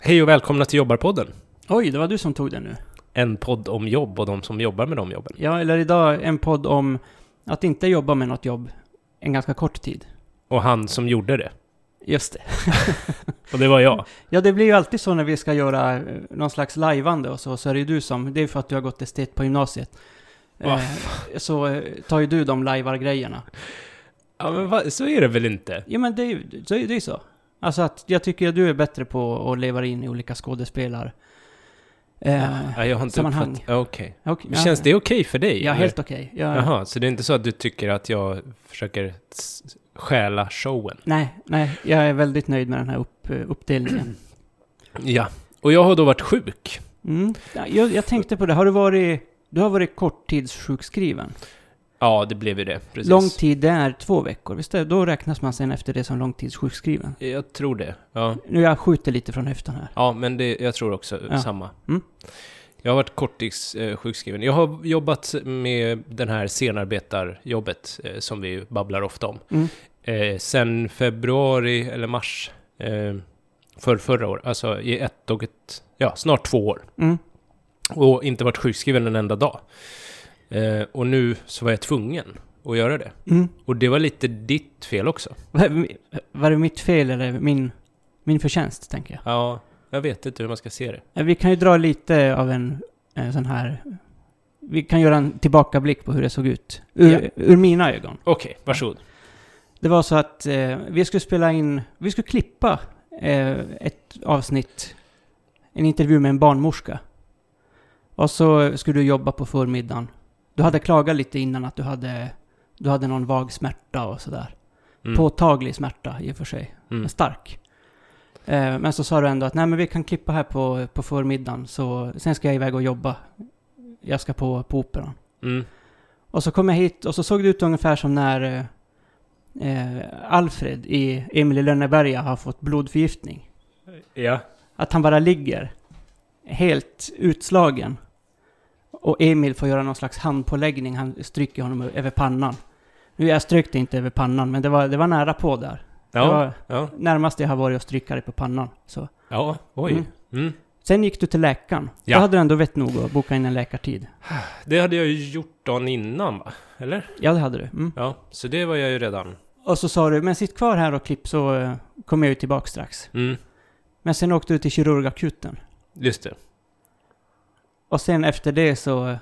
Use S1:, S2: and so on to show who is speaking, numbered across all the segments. S1: Hej och välkomna till Jobbarpodden.
S2: Oj, det var du som tog den nu.
S1: En podd om jobb och de som jobbar med de jobben.
S2: Ja, eller idag en podd om att inte jobba med något jobb en ganska kort tid.
S1: Och han som gjorde det.
S2: Just det.
S1: Och det var jag.
S2: Ja, det blir ju alltid så när vi ska göra eh, någon slags lajvande och så, så är det ju du som, det är för att du har gått estet på gymnasiet.
S1: Va
S2: Eh, så eh, tar ju du de lajvar-grejerna.
S1: Ja, men va, så är det väl inte?
S2: Ja, men det är ju så. Är det ju så. Alltså att jag tycker att du är bättre på att leva dig in i olika skådespelar... Eh,
S1: Ja, jag har inte
S2: sammanhang.
S1: uppfattat- Ja, okej.
S2: okej,
S1: Men Känns det okej för dig?
S2: Ja,
S1: eller?
S2: helt okej. Ja,
S1: Jaha, så det är inte så att du tycker att jag försöker s- s- stjäla showen?
S2: Nej, nej, jag är väldigt nöjd med den här upp, eh, uppdelningen.
S1: Ja. Och jag har då varit sjuk.
S2: Mm. Ja, Jag, jag tänkte på det, har du varit, du har varit korttidssjukskriven?
S1: Ja, det blev ju det. Precis.
S2: Lång tid, det är två veckor, visst är det? Då räknas man sen efter det som långtidssjukskriven.
S1: Jag tror det. Ja,
S2: Nu jag skjuter lite från höften här.
S1: ja men det, jag tror också
S2: Ja.
S1: samma.
S2: Mm.
S1: Jag har varit korttidssjukskriven. Jag har jobbat med den här senarbetarjobbet eh, som vi ju babblar ofta om.
S2: Mm.
S1: Eh, sen februari eller mars eh, för förra året, alltså i ett och ett, ja, snart två år.
S2: Mm.
S1: Och inte varit sjukskriven en enda dag. Eh, och nu så var jag tvungen att göra det.
S2: Mm.
S1: Och det var lite ditt fel också.
S2: Var, var det mitt fel eller min, min förtjänst, tänker jag?
S1: Ja, jag vet inte hur man ska se det.
S2: Eh, Vi kan ju dra lite av en, en sån här... Vi kan göra en tillbakablick på hur det såg ut. Ur,
S1: Ja.
S2: ur mina ögon.
S1: Okej, varsågod.
S2: Det var så att eh, vi skulle spela in, vi skulle klippa eh, ett avsnitt, en intervju med en barnmorska. Och så skulle du jobba på förmiddagen. Du hade klagat lite innan att du hade, du hade någon vag smärta och sådär.
S1: Mm.
S2: Påtaglig smärta i och för sig,
S1: Mm.
S2: men stark. Eh, men så sa du ändå att nej men vi kan klippa här på, på förmiddagen, så sen ska jag iväg och jobba. Jag ska på, på operan.
S1: Mm.
S2: Och så kom jag hit och så såg det ut ungefär som när eh, eh, Alfred i Emil i Lönneberga har fått blodförgiftning.
S1: Ja.
S2: Att han bara ligger helt utslagen. Och Emil får göra någon slags handpåläggning. Han stryker honom ö- över pannan. Nu, jag strykte inte över pannan, men det var, det var nära på där. Det
S1: Ja.
S2: var
S1: Ja. närmast.
S2: närmast jag har varit att stryka dig på pannan. Så.
S1: Ja, oj.
S2: Mm.
S1: Mm.
S2: Sen gick du till läkaren.
S1: Ja.
S2: Då hade du ändå vett nog att boka in en läkartid.
S1: Det hade jag ju gjort dagen innan, va? Eller?
S2: Ja, det hade du. Mm.
S1: Ja, så det var jag ju redan.
S2: Och så sa du, men sitt kvar här och klipp så eh, kommer jag ju tillbaka strax.
S1: Mm.
S2: Men sen åkte du till kirurgakuten.
S1: Just det.
S2: Och sen efter det så... eh,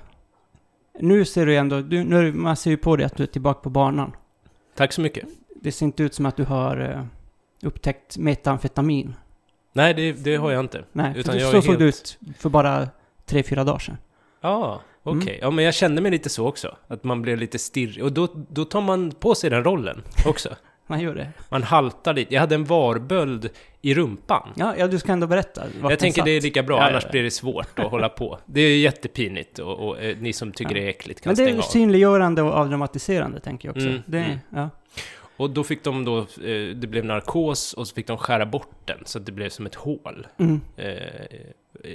S2: Nu ser du ändå... Du, nu, man ser ju på dig att du är tillbaka på banan.
S1: Tack så mycket.
S2: Det ser inte ut som att du har eh, upptäckt metamfetamin.
S1: Nej, det, det har jag inte.
S2: Nej,
S1: Utan
S2: för
S1: jag
S2: så
S1: är
S2: såg det
S1: helt-
S2: ut för bara tre, fyra dagar sedan.
S1: Ja, okej.
S2: Mm.
S1: Ja, men jag kände mig lite så också. Att man blev lite stirrig. Och då, då tar man på sig den rollen också.
S2: Man gör det.
S1: Man haltar lite. Jag hade en varböld i rumpan.
S2: Ja, ja du ska ändå berätta. vart den
S1: Jag tänker det är
S2: satt.
S1: lika bra,
S2: Ja, ja,
S1: annars
S2: ja.
S1: blir det svårt att hålla på. Det är jättepinigt och, och eh, ni som tycker
S2: Ja.
S1: det är äckligt kan
S2: Men det är
S1: stänga av.
S2: synliggörande och avdramatiserande, tänker jag också.
S1: Mm,
S2: det,
S1: mm.
S2: Ja.
S1: Och då fick de då, eh, det blev narkos och så fick de skära bort den så att det blev som ett hål.
S2: Mm.
S1: Eh,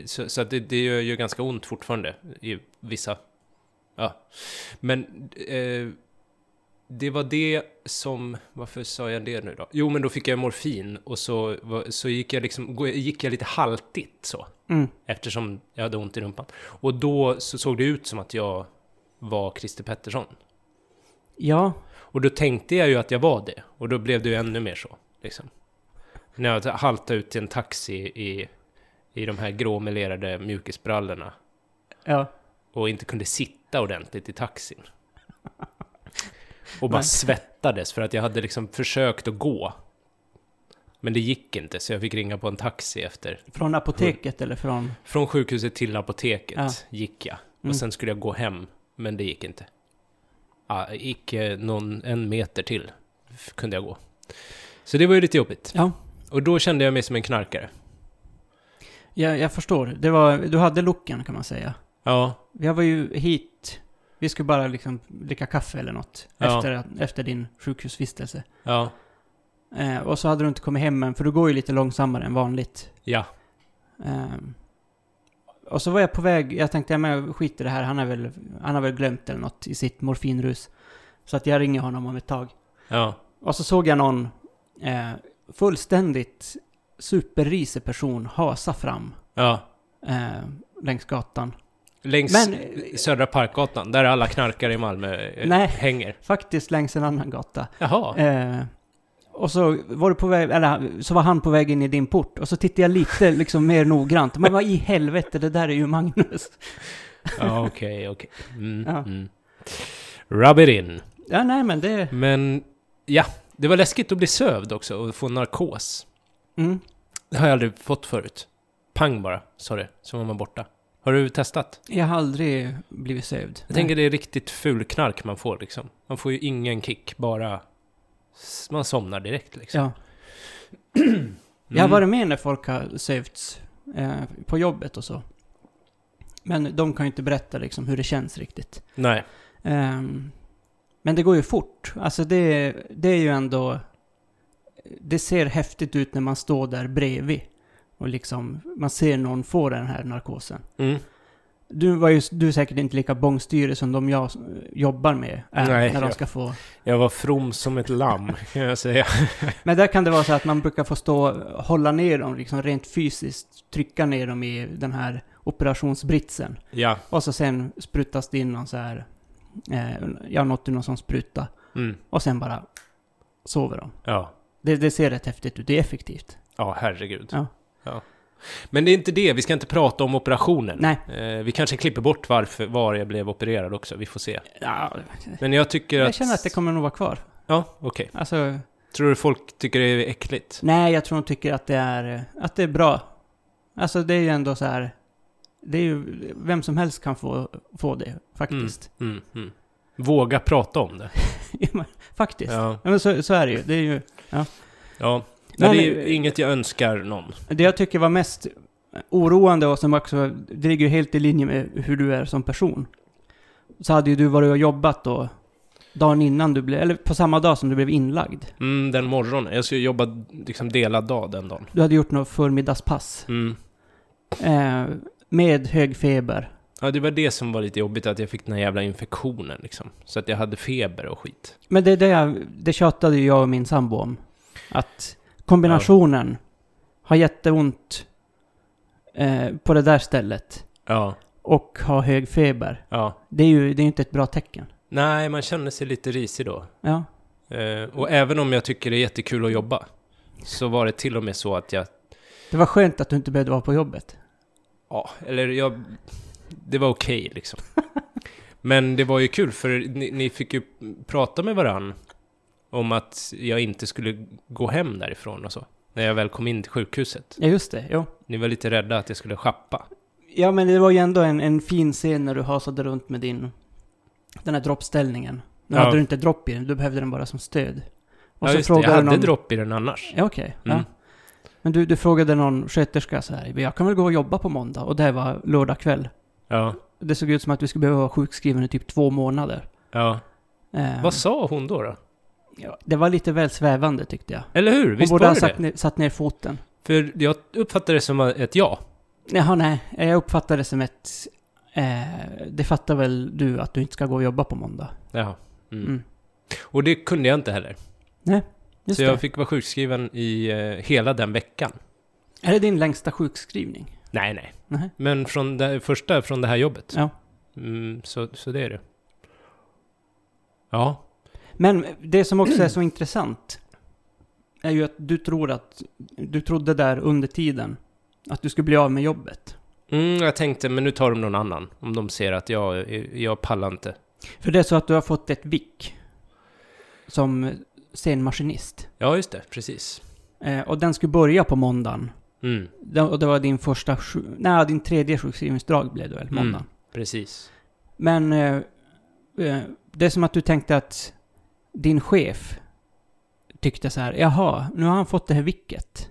S1: så så att det, det gör ju ganska ont fortfarande i vissa... Ja. Men eh, det var det som... Varför sa jag det nu då? Jo, men då fick jag morfin och så, var- så gick, jag liksom, gick jag lite haltigt så.
S2: Mm.
S1: Eftersom jag hade ont i rumpan. Och då så såg det ut som att jag var Christer Pettersson.
S2: Ja,
S1: Och då tänkte jag ju att jag var det. Och då blev det ju ännu mer så. Liksom. När jag haltade ut till en taxi i, i de här gråmelerade mjukisbrallorna.
S2: ja.
S1: Och inte kunde sitta ordentligt i taxin. Och bara
S2: Nej.
S1: svettades för att jag hade liksom försökt att gå. Men det gick inte, så jag fick ringa på en taxi efter.
S2: Från apoteket eller från...
S1: Från sjukhuset till apoteket
S2: Ja.
S1: gick jag.
S2: Mm.
S1: Och sen skulle jag gå hem, men det gick inte. Ja, icke någon, en meter till f- kunde jag gå. Så det var ju lite jobbigt.
S2: Ja.
S1: Och då kände jag mig som en knarkare.
S2: Ja, jag förstår. Det var, du hade looken kan man säga.
S1: Ja,
S2: Jag var ju hit, vi skulle bara liksom dricka kaffe eller något
S1: Ja.
S2: efter, att- efter din sjukhusvistelse.
S1: ja,
S2: Eh, och så hade du inte kommit hem än, för du går ju lite långsammare än vanligt.
S1: ja.
S2: Ehm, och så var jag på väg, jag tänkte ja, men jag skiter i det här, han har, väl, han har väl glömt eller något i sitt morfinrus. Så att jag ringer honom om ett tag.
S1: ja.
S2: Och så såg jag någon eh, fullständigt superrisig person hasa fram
S1: Ja.
S2: eh, längs gatan.
S1: Längs
S2: Men- eh,
S1: Södra Parkgatan, där alla knarkare i Malmö eh,
S2: Nej.
S1: hänger.
S2: Faktiskt längs en annan gata.
S1: Jaha.
S2: Eh, och så var, du på väg, eller, så var han på väg in i din port och så tittade jag lite liksom, mer noggrant. Men vad i helvete, det där är ju Magnus.
S1: Ja, okej, okej. Mm,
S2: Ja.
S1: mm. Rub it in.
S2: Ja, nej men det...
S1: Men ja, det var läskigt att bli sövd också och få narkos.
S2: Mm.
S1: Det har jag aldrig fått förut. Pang bara, sa det, så var man borta. Har du testat?
S2: Jag har aldrig blivit sövd.
S1: Jag tänker det är riktigt ful knark man får liksom. Man får ju ingen kick, bara... s- Man somnar direkt liksom.
S2: Ja. Jag
S1: Mm.
S2: har varit med när folk har sövts eh, på jobbet och så. Men de kan ju inte berätta liksom, hur det känns riktigt.
S1: Nej.
S2: Ehm, men det går ju fort. Alltså det, det är ju ändå... Det ser häftigt ut när man står där bredvid. Och liksom, man ser någon få den här narkosen.
S1: Mm.
S2: Du, var ju, du är säkert inte lika bångstyrig som de jag eh, jobbar med. Är,
S1: Nej,
S2: när de
S1: ja.
S2: ska få.
S1: Jag var from som ett lamm, kan jag säga.
S2: Men där kan det vara så att man brukar få stå hålla ner dem liksom rent fysiskt. Trycka ner dem i den här operationsbritsen.
S1: Ja.
S2: Och så sen sprutas det in någon så här... Eh, jag har nått ur någon sån spruta.
S1: Mm.
S2: Och sen bara sover de.
S1: Ja.
S2: Det, det ser rätt häftigt ut. Det är effektivt.
S1: Ja, herregud.
S2: Ja.
S1: Ja. Men det är inte det, vi ska inte prata om operationen.
S2: Nej.
S1: Eh, vi kanske klipper bort varför, var jag blev opererad också, vi får se.
S2: Ja,
S1: Men jag tycker att...
S2: jag känner att det kommer nog vara kvar.
S1: Ja, okej.
S2: Alltså,
S1: Tror du folk tycker det är äckligt?
S2: nej, jag tror de tycker att det är, att det är bra. Alltså, det är ju ändå så här... Det är ju, vem som helst kan få, få det, faktiskt.
S1: Mm, mm. Våga prata om det.
S2: Ja, men faktiskt. Ja.
S1: Mm. Ja.
S2: men så, så är det ju. Det är ju...
S1: ja. Nej,
S2: Men-
S1: det är ju inget jag önskar någon.
S2: Det jag tycker var mest oroande och som också, det ligger ju helt i linje med hur du är som person. Så hade ju du varit och jobbat då, dagen innan du blev, eller på samma dag som du blev inlagd.
S1: Mm, den morgonen. Jag ska ju jobba liksom delad dag den dagen.
S2: Du hade gjort något förmiddagspass.
S1: Mm.
S2: Eh, med hög feber.
S1: Ja, det var det som var lite jobbigt, att jag fick den här jävla infektionen liksom. Så att jag hade feber och skit.
S2: Men det, är det, jag, det tjatade ju jag och min sambo om. Att kombinationen har jätteont eh, på det där stället
S1: Ja.
S2: och har hög feber.
S1: Ja.
S2: Det är ju det är ju inte ett bra tecken.
S1: Nej, man känner sig lite risig då.
S2: Ja.
S1: Eh, och även om jag tycker det är jättekul att jobba, så var det till och med så att jag...
S2: Det var skönt att du inte behövde vara på jobbet.
S1: Ja, eller jag... Det var okej liksom. Men det var ju kul, för ni, ni fick ju prata med varann om att jag inte skulle gå hem därifrån och så. När jag väl kom in till sjukhuset.
S2: Ja, just det. Jo.
S1: Ni var lite rädda att jag skulle schappa.
S2: Ja, men det var ju ändå en, en fin scen när du hasade runt med din... Den här droppställningen. Nu
S1: Ja.
S2: hade du inte dropp i den, du behövde den bara som stöd. Och
S1: ja,
S2: så
S1: just det, jag
S2: frågade
S1: hade
S2: du någon...
S1: dropp i den annars.
S2: Ja, okej.
S1: Mm.
S2: Ja. Men du, du frågade någon sköterska så här, jag kan väl gå och jobba på måndag? Och det här var lördag kväll.
S1: Ja,
S2: Det såg ut som att du skulle behöva vara sjukskriven i typ två månader.
S1: ja.
S2: Eh,
S1: Vad sa hon då? då?
S2: ja, det var lite väl svävande tyckte jag.
S1: Eller hur?
S2: Hon
S1: Visst
S2: borde
S1: var
S2: ha
S1: det
S2: satt
S1: det?
S2: ner, satt ner foten.
S1: För jag uppfattade det som ett ja.
S2: Jaha, nej. Jag uppfattade det som ett... Eh, det fattar väl du att du inte ska gå och jobba på måndag?
S1: Jaha. Mm.
S2: Mm.
S1: Och det kunde jag inte heller.
S2: Just
S1: så jag
S2: det.
S1: fick vara sjukskriven i eh, hela den veckan.
S2: Är det din längsta sjukskrivning?
S1: Nej, nej.
S2: Nej.
S1: Men från det första från det här jobbet.
S2: Ja.
S1: Mm, så, så det är det. Ja.
S2: Men det som också är så intressant är ju att du tror att du trodde där under tiden att du skulle bli av med jobbet.
S1: Mm, jag tänkte, men nu tar de någon annan. Om de ser att jag, jag pallar inte.
S2: För det är så att du har fått ett vick som scenmaskinist.
S1: Ja, just det. Precis.
S2: Eh, och den skulle börja på måndagen.
S1: Mm,
S2: Det- Och det var din första... sju- Nej, din tredje sjukskrivningsdag blev det väl, måndagen.
S1: Mm. precis.
S2: Men eh, eh, det är som att du tänkte att din chef tyckte så här, jaha, nu har han fått det här vicket.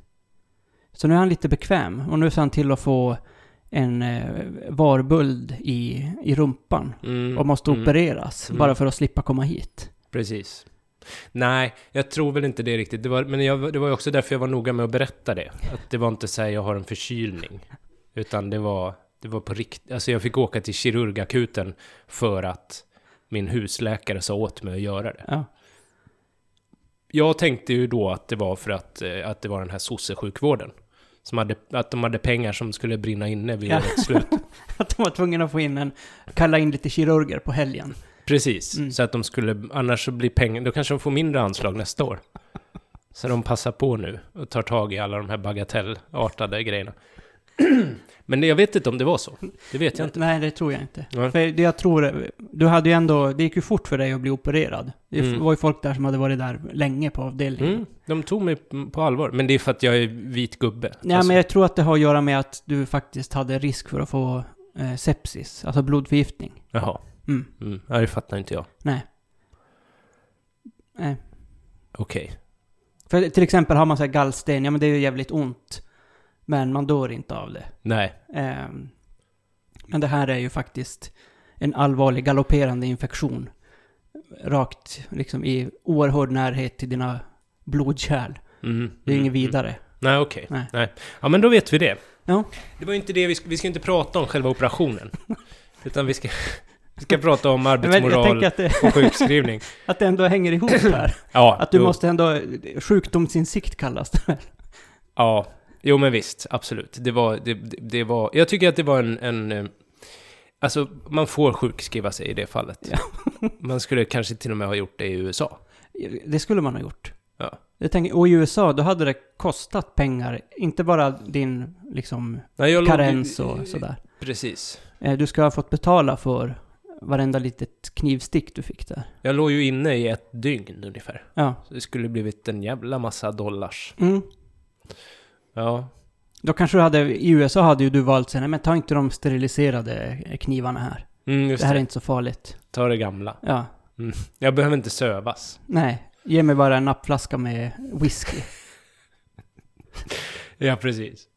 S2: Så nu är han lite bekväm och nu ser han till att få en eh, varböld i, i rumpan
S1: Mm,
S2: och måste
S1: mm,
S2: opereras
S1: Mm.
S2: bara för att slippa komma hit.
S1: Precis. Nej, jag tror väl inte det riktigt. Det var, men jag, det var ju också därför jag var noga med att berätta det. Att det var inte så här, jag har en förkylning. Utan det var, det var på riktigt. Alltså jag fick åka till kirurgakuten för att min husläkare sa åt mig att göra det.
S2: Ja.
S1: jag tänkte ju då att det var för att, eh, att det var den här sossesjukvården. Som hade, att de hade pengar som skulle brinna inne vid
S2: Ja.
S1: årets slut.
S2: Att de var tvungna att få in en, kalla in lite kirurger på helgen.
S1: Precis,
S2: Mm.
S1: så att de skulle, annars så blir pengar, då kanske de får mindre anslag nästa år. Så de passar på nu och tar tag i alla de här bagatellartade grejerna. Men jag vet inte om det var så. Det vet jag inte.
S2: Nej, det tror jag inte.
S1: Nej.
S2: För det jag tror, eh, du hade ju ändå, det gick ju fort för dig att bli opererad. Det
S1: Mm.
S2: var ju folk där som hade varit där länge på avdelningen.
S1: Mm, de tog mig på allvar, men det är för att jag är vit gubbe.
S2: Nej,
S1: Alltså,
S2: men jag tror att det har att göra med att du faktiskt hade risk för att få eh, sepsis, alltså blodförgiftning.
S1: Jaha,
S2: Mm.
S1: mm, ja, det fattar inte jag.
S2: Nej. Nej.
S1: Okej.
S2: För till exempel har man så här gallsten, ja men det är ju jävligt ont. Men man dör inte av det.
S1: Nej,
S2: Ehm, men det här är ju faktiskt en allvarlig galopperande infektion. Rakt liksom i oerhörd närhet till dina blodkärl.
S1: Mm,
S2: Det är ju
S1: mm,
S2: inget vidare.
S1: mm. Nej, okej.
S2: Nej.
S1: Nej. Ja, men då vet vi det.
S2: Ja.
S1: Det var ju inte det vi, sk- vi ska inte prata om själva operationen. utan vi ska, vi ska prata om
S2: Men jag
S1: arbetsmoral
S2: tänker att det,
S1: och sjukskrivning.
S2: att det ändå hänger ihop här.
S1: Ja,
S2: Att du
S1: jo,
S2: måste ändå... eh, Sjukdomsinsikt kallas det väl?
S1: Ja, jo men visst, absolut. Det var, det, det, det var, jag tycker att det var en, en... eh, Alltså, man får sjukskriva sig i det fallet.
S2: Ja.
S1: man skulle kanske till och med ha gjort det i USA.
S2: Det skulle man ha gjort.
S1: Ja.
S2: Jag tänker, och i USA, då hade det kostat pengar. Inte bara din liksom,
S1: Nej, jag låg-
S2: karens och sådär.
S1: Precis.
S2: Eh, Du ska ha fått betala för varenda litet knivstick du fick där.
S1: Jag låg ju inne i ett dygn ungefär.
S2: Ja.
S1: Så det skulle blivit en jävla massa dollars.
S2: Mm.
S1: Ja,
S2: Då kanske du hade, i USA hade ju du valt sen, nej men ta inte de steriliserade eh, knivarna här.
S1: mm, just
S2: Det
S1: det.
S2: här är inte så farligt.
S1: Ta det gamla.
S2: Ja,
S1: Jag behöver inte sövas.
S2: nej. Ge mig bara en nappflaska med whisky.
S1: Ja, precis.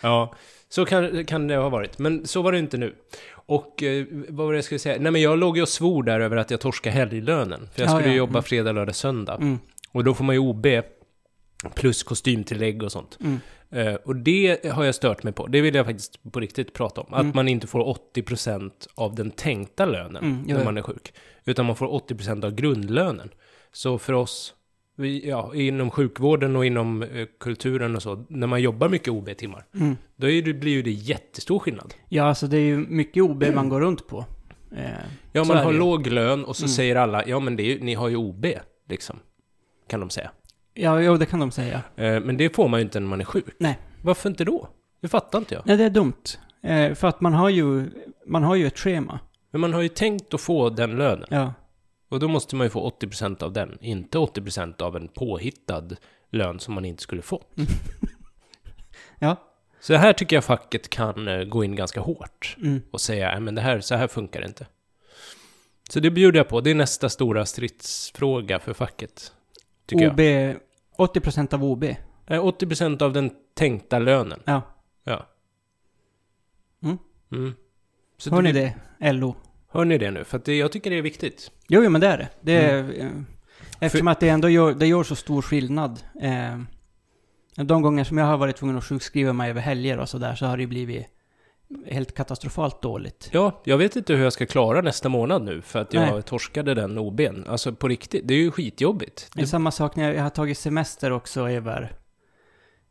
S1: Ja, så kan, kan det ha varit. Men så var det inte nu. Och eh, vad var det jag skulle säga? Nej, men jag låg ju och svor där över att jag torskade helglönen. För jag
S2: Ja,
S1: skulle
S2: ja,
S1: jobba
S2: mm.
S1: fredag, lördag, söndag.
S2: Mm,
S1: Och då får man ju OB. Plus kostymtillägg och sånt.
S2: mm.
S1: Eh, och det har jag stört mig på. Det vill jag faktiskt på riktigt prata om. Att
S2: Mm.
S1: man inte får 80% av den tänkta lönen
S2: Mm, jo,
S1: när
S2: jo.
S1: man är sjuk. Utan man får 80% av grundlönen. Så för oss, vi, ja, inom sjukvården och inom eh, kulturen och så, när man jobbar mycket OB-timmar,
S2: Mm.
S1: då är det, blir ju det jättestor skillnad.
S2: Ja, alltså det är ju mycket OB man går runt på. Eh,
S1: Ja,
S2: Så
S1: man
S2: är
S1: har
S2: det ju.
S1: låg lön och så
S2: Mm.
S1: säger alla, ja men det är, ju- ni har ju OB, liksom. Kan de säga.
S2: ja, jo, det kan de säga.
S1: Eh, men det får man ju inte när man är sjuk.
S2: Nej.
S1: Varför inte då? Det fattar inte jag.
S2: Nej, det är dumt. Eh, för att man har ju, man har ju ett schema.
S1: Men man har ju tänkt att få den lönen.
S2: Ja.
S1: Och då måste man ju få 80% av den, inte 80% av en påhittad lön som man inte skulle fått.
S2: Ja.
S1: Så här tycker jag facket kan eh, gå in ganska hårt
S2: Mm.
S1: och säga, "Nej, men det här, så här funkar det inte. Så det bjuder jag på, det är nästa stora stridsfråga för facket. Tycker
S2: OB, 80% av OB.
S1: jag. Eh, 80% av den tänkta lönen.
S2: Ja.
S1: Ja.
S2: Mm.
S1: Mm. Så
S2: Hör ni
S1: det?
S2: det, LO?
S1: Hör ni det nu? För att det, jag tycker det är viktigt.
S2: Jo, jo men det är det. det är,
S1: Mm.
S2: eh, Eftersom att det ändå gör, det gör så stor skillnad. Eh, de gånger som jag har varit tvungen att sjukskriva mig över helger och sådär så har det ju blivit helt katastrofalt dåligt.
S1: Ja, jag vet inte hur jag ska klara nästa månad nu för att jag
S2: Nej.
S1: torskade den OB'n. Alltså på riktigt, det är ju skitjobbigt.
S2: Det är
S1: Det,
S2: samma sak när jag, jag har tagit semester också över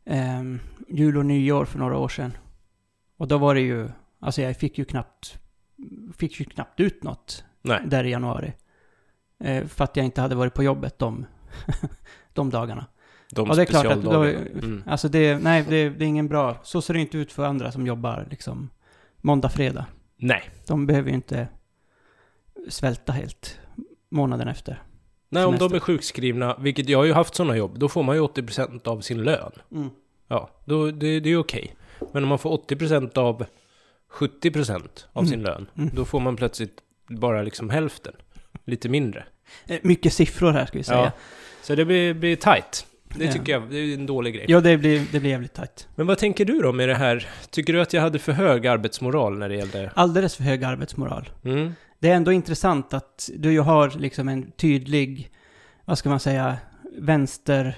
S2: ehm, jul och nyår för några år sedan. Och då var det ju, alltså jag fick ju knappt, fick ju knappt ut något
S1: nej,
S2: där i januari. Eh, för att jag inte hade varit på jobbet de, de dagarna.
S1: de
S2: Ja, det är klart att då,
S1: specialdagarna. Mm.
S2: alltså det, nej, det, det är ingen bra. Så ser det inte ut för andra som jobbar liksom måndag, fredag.
S1: Nej.
S2: De behöver ju inte svälta helt månaden efter.
S1: Nej, om de
S2: semester.
S1: är sjukskrivna, vilket jag har ju haft sådana jobb, då får man ju 80% av sin lön. Ja, då, det, det är okej. Men om man får 80% av 70% av sin lön,
S2: Mm.
S1: då får man plötsligt bara liksom hälften. Lite mindre.
S2: Eh, Mycket siffror här ska vi säga.
S1: Ja. Så det blir, blir tight. Det
S2: Ja.
S1: tycker jag, det är en dålig grej.
S2: Ja, det, blir, det blir jävligt tajt.
S1: Men vad tänker du då med det här? Tycker du att jag hade för hög arbetsmoral när det gällde...
S2: Alldeles för hög arbetsmoral.
S1: Mm.
S2: Det är ändå intressant att du ju har liksom en tydlig, vad ska man säga, vänster...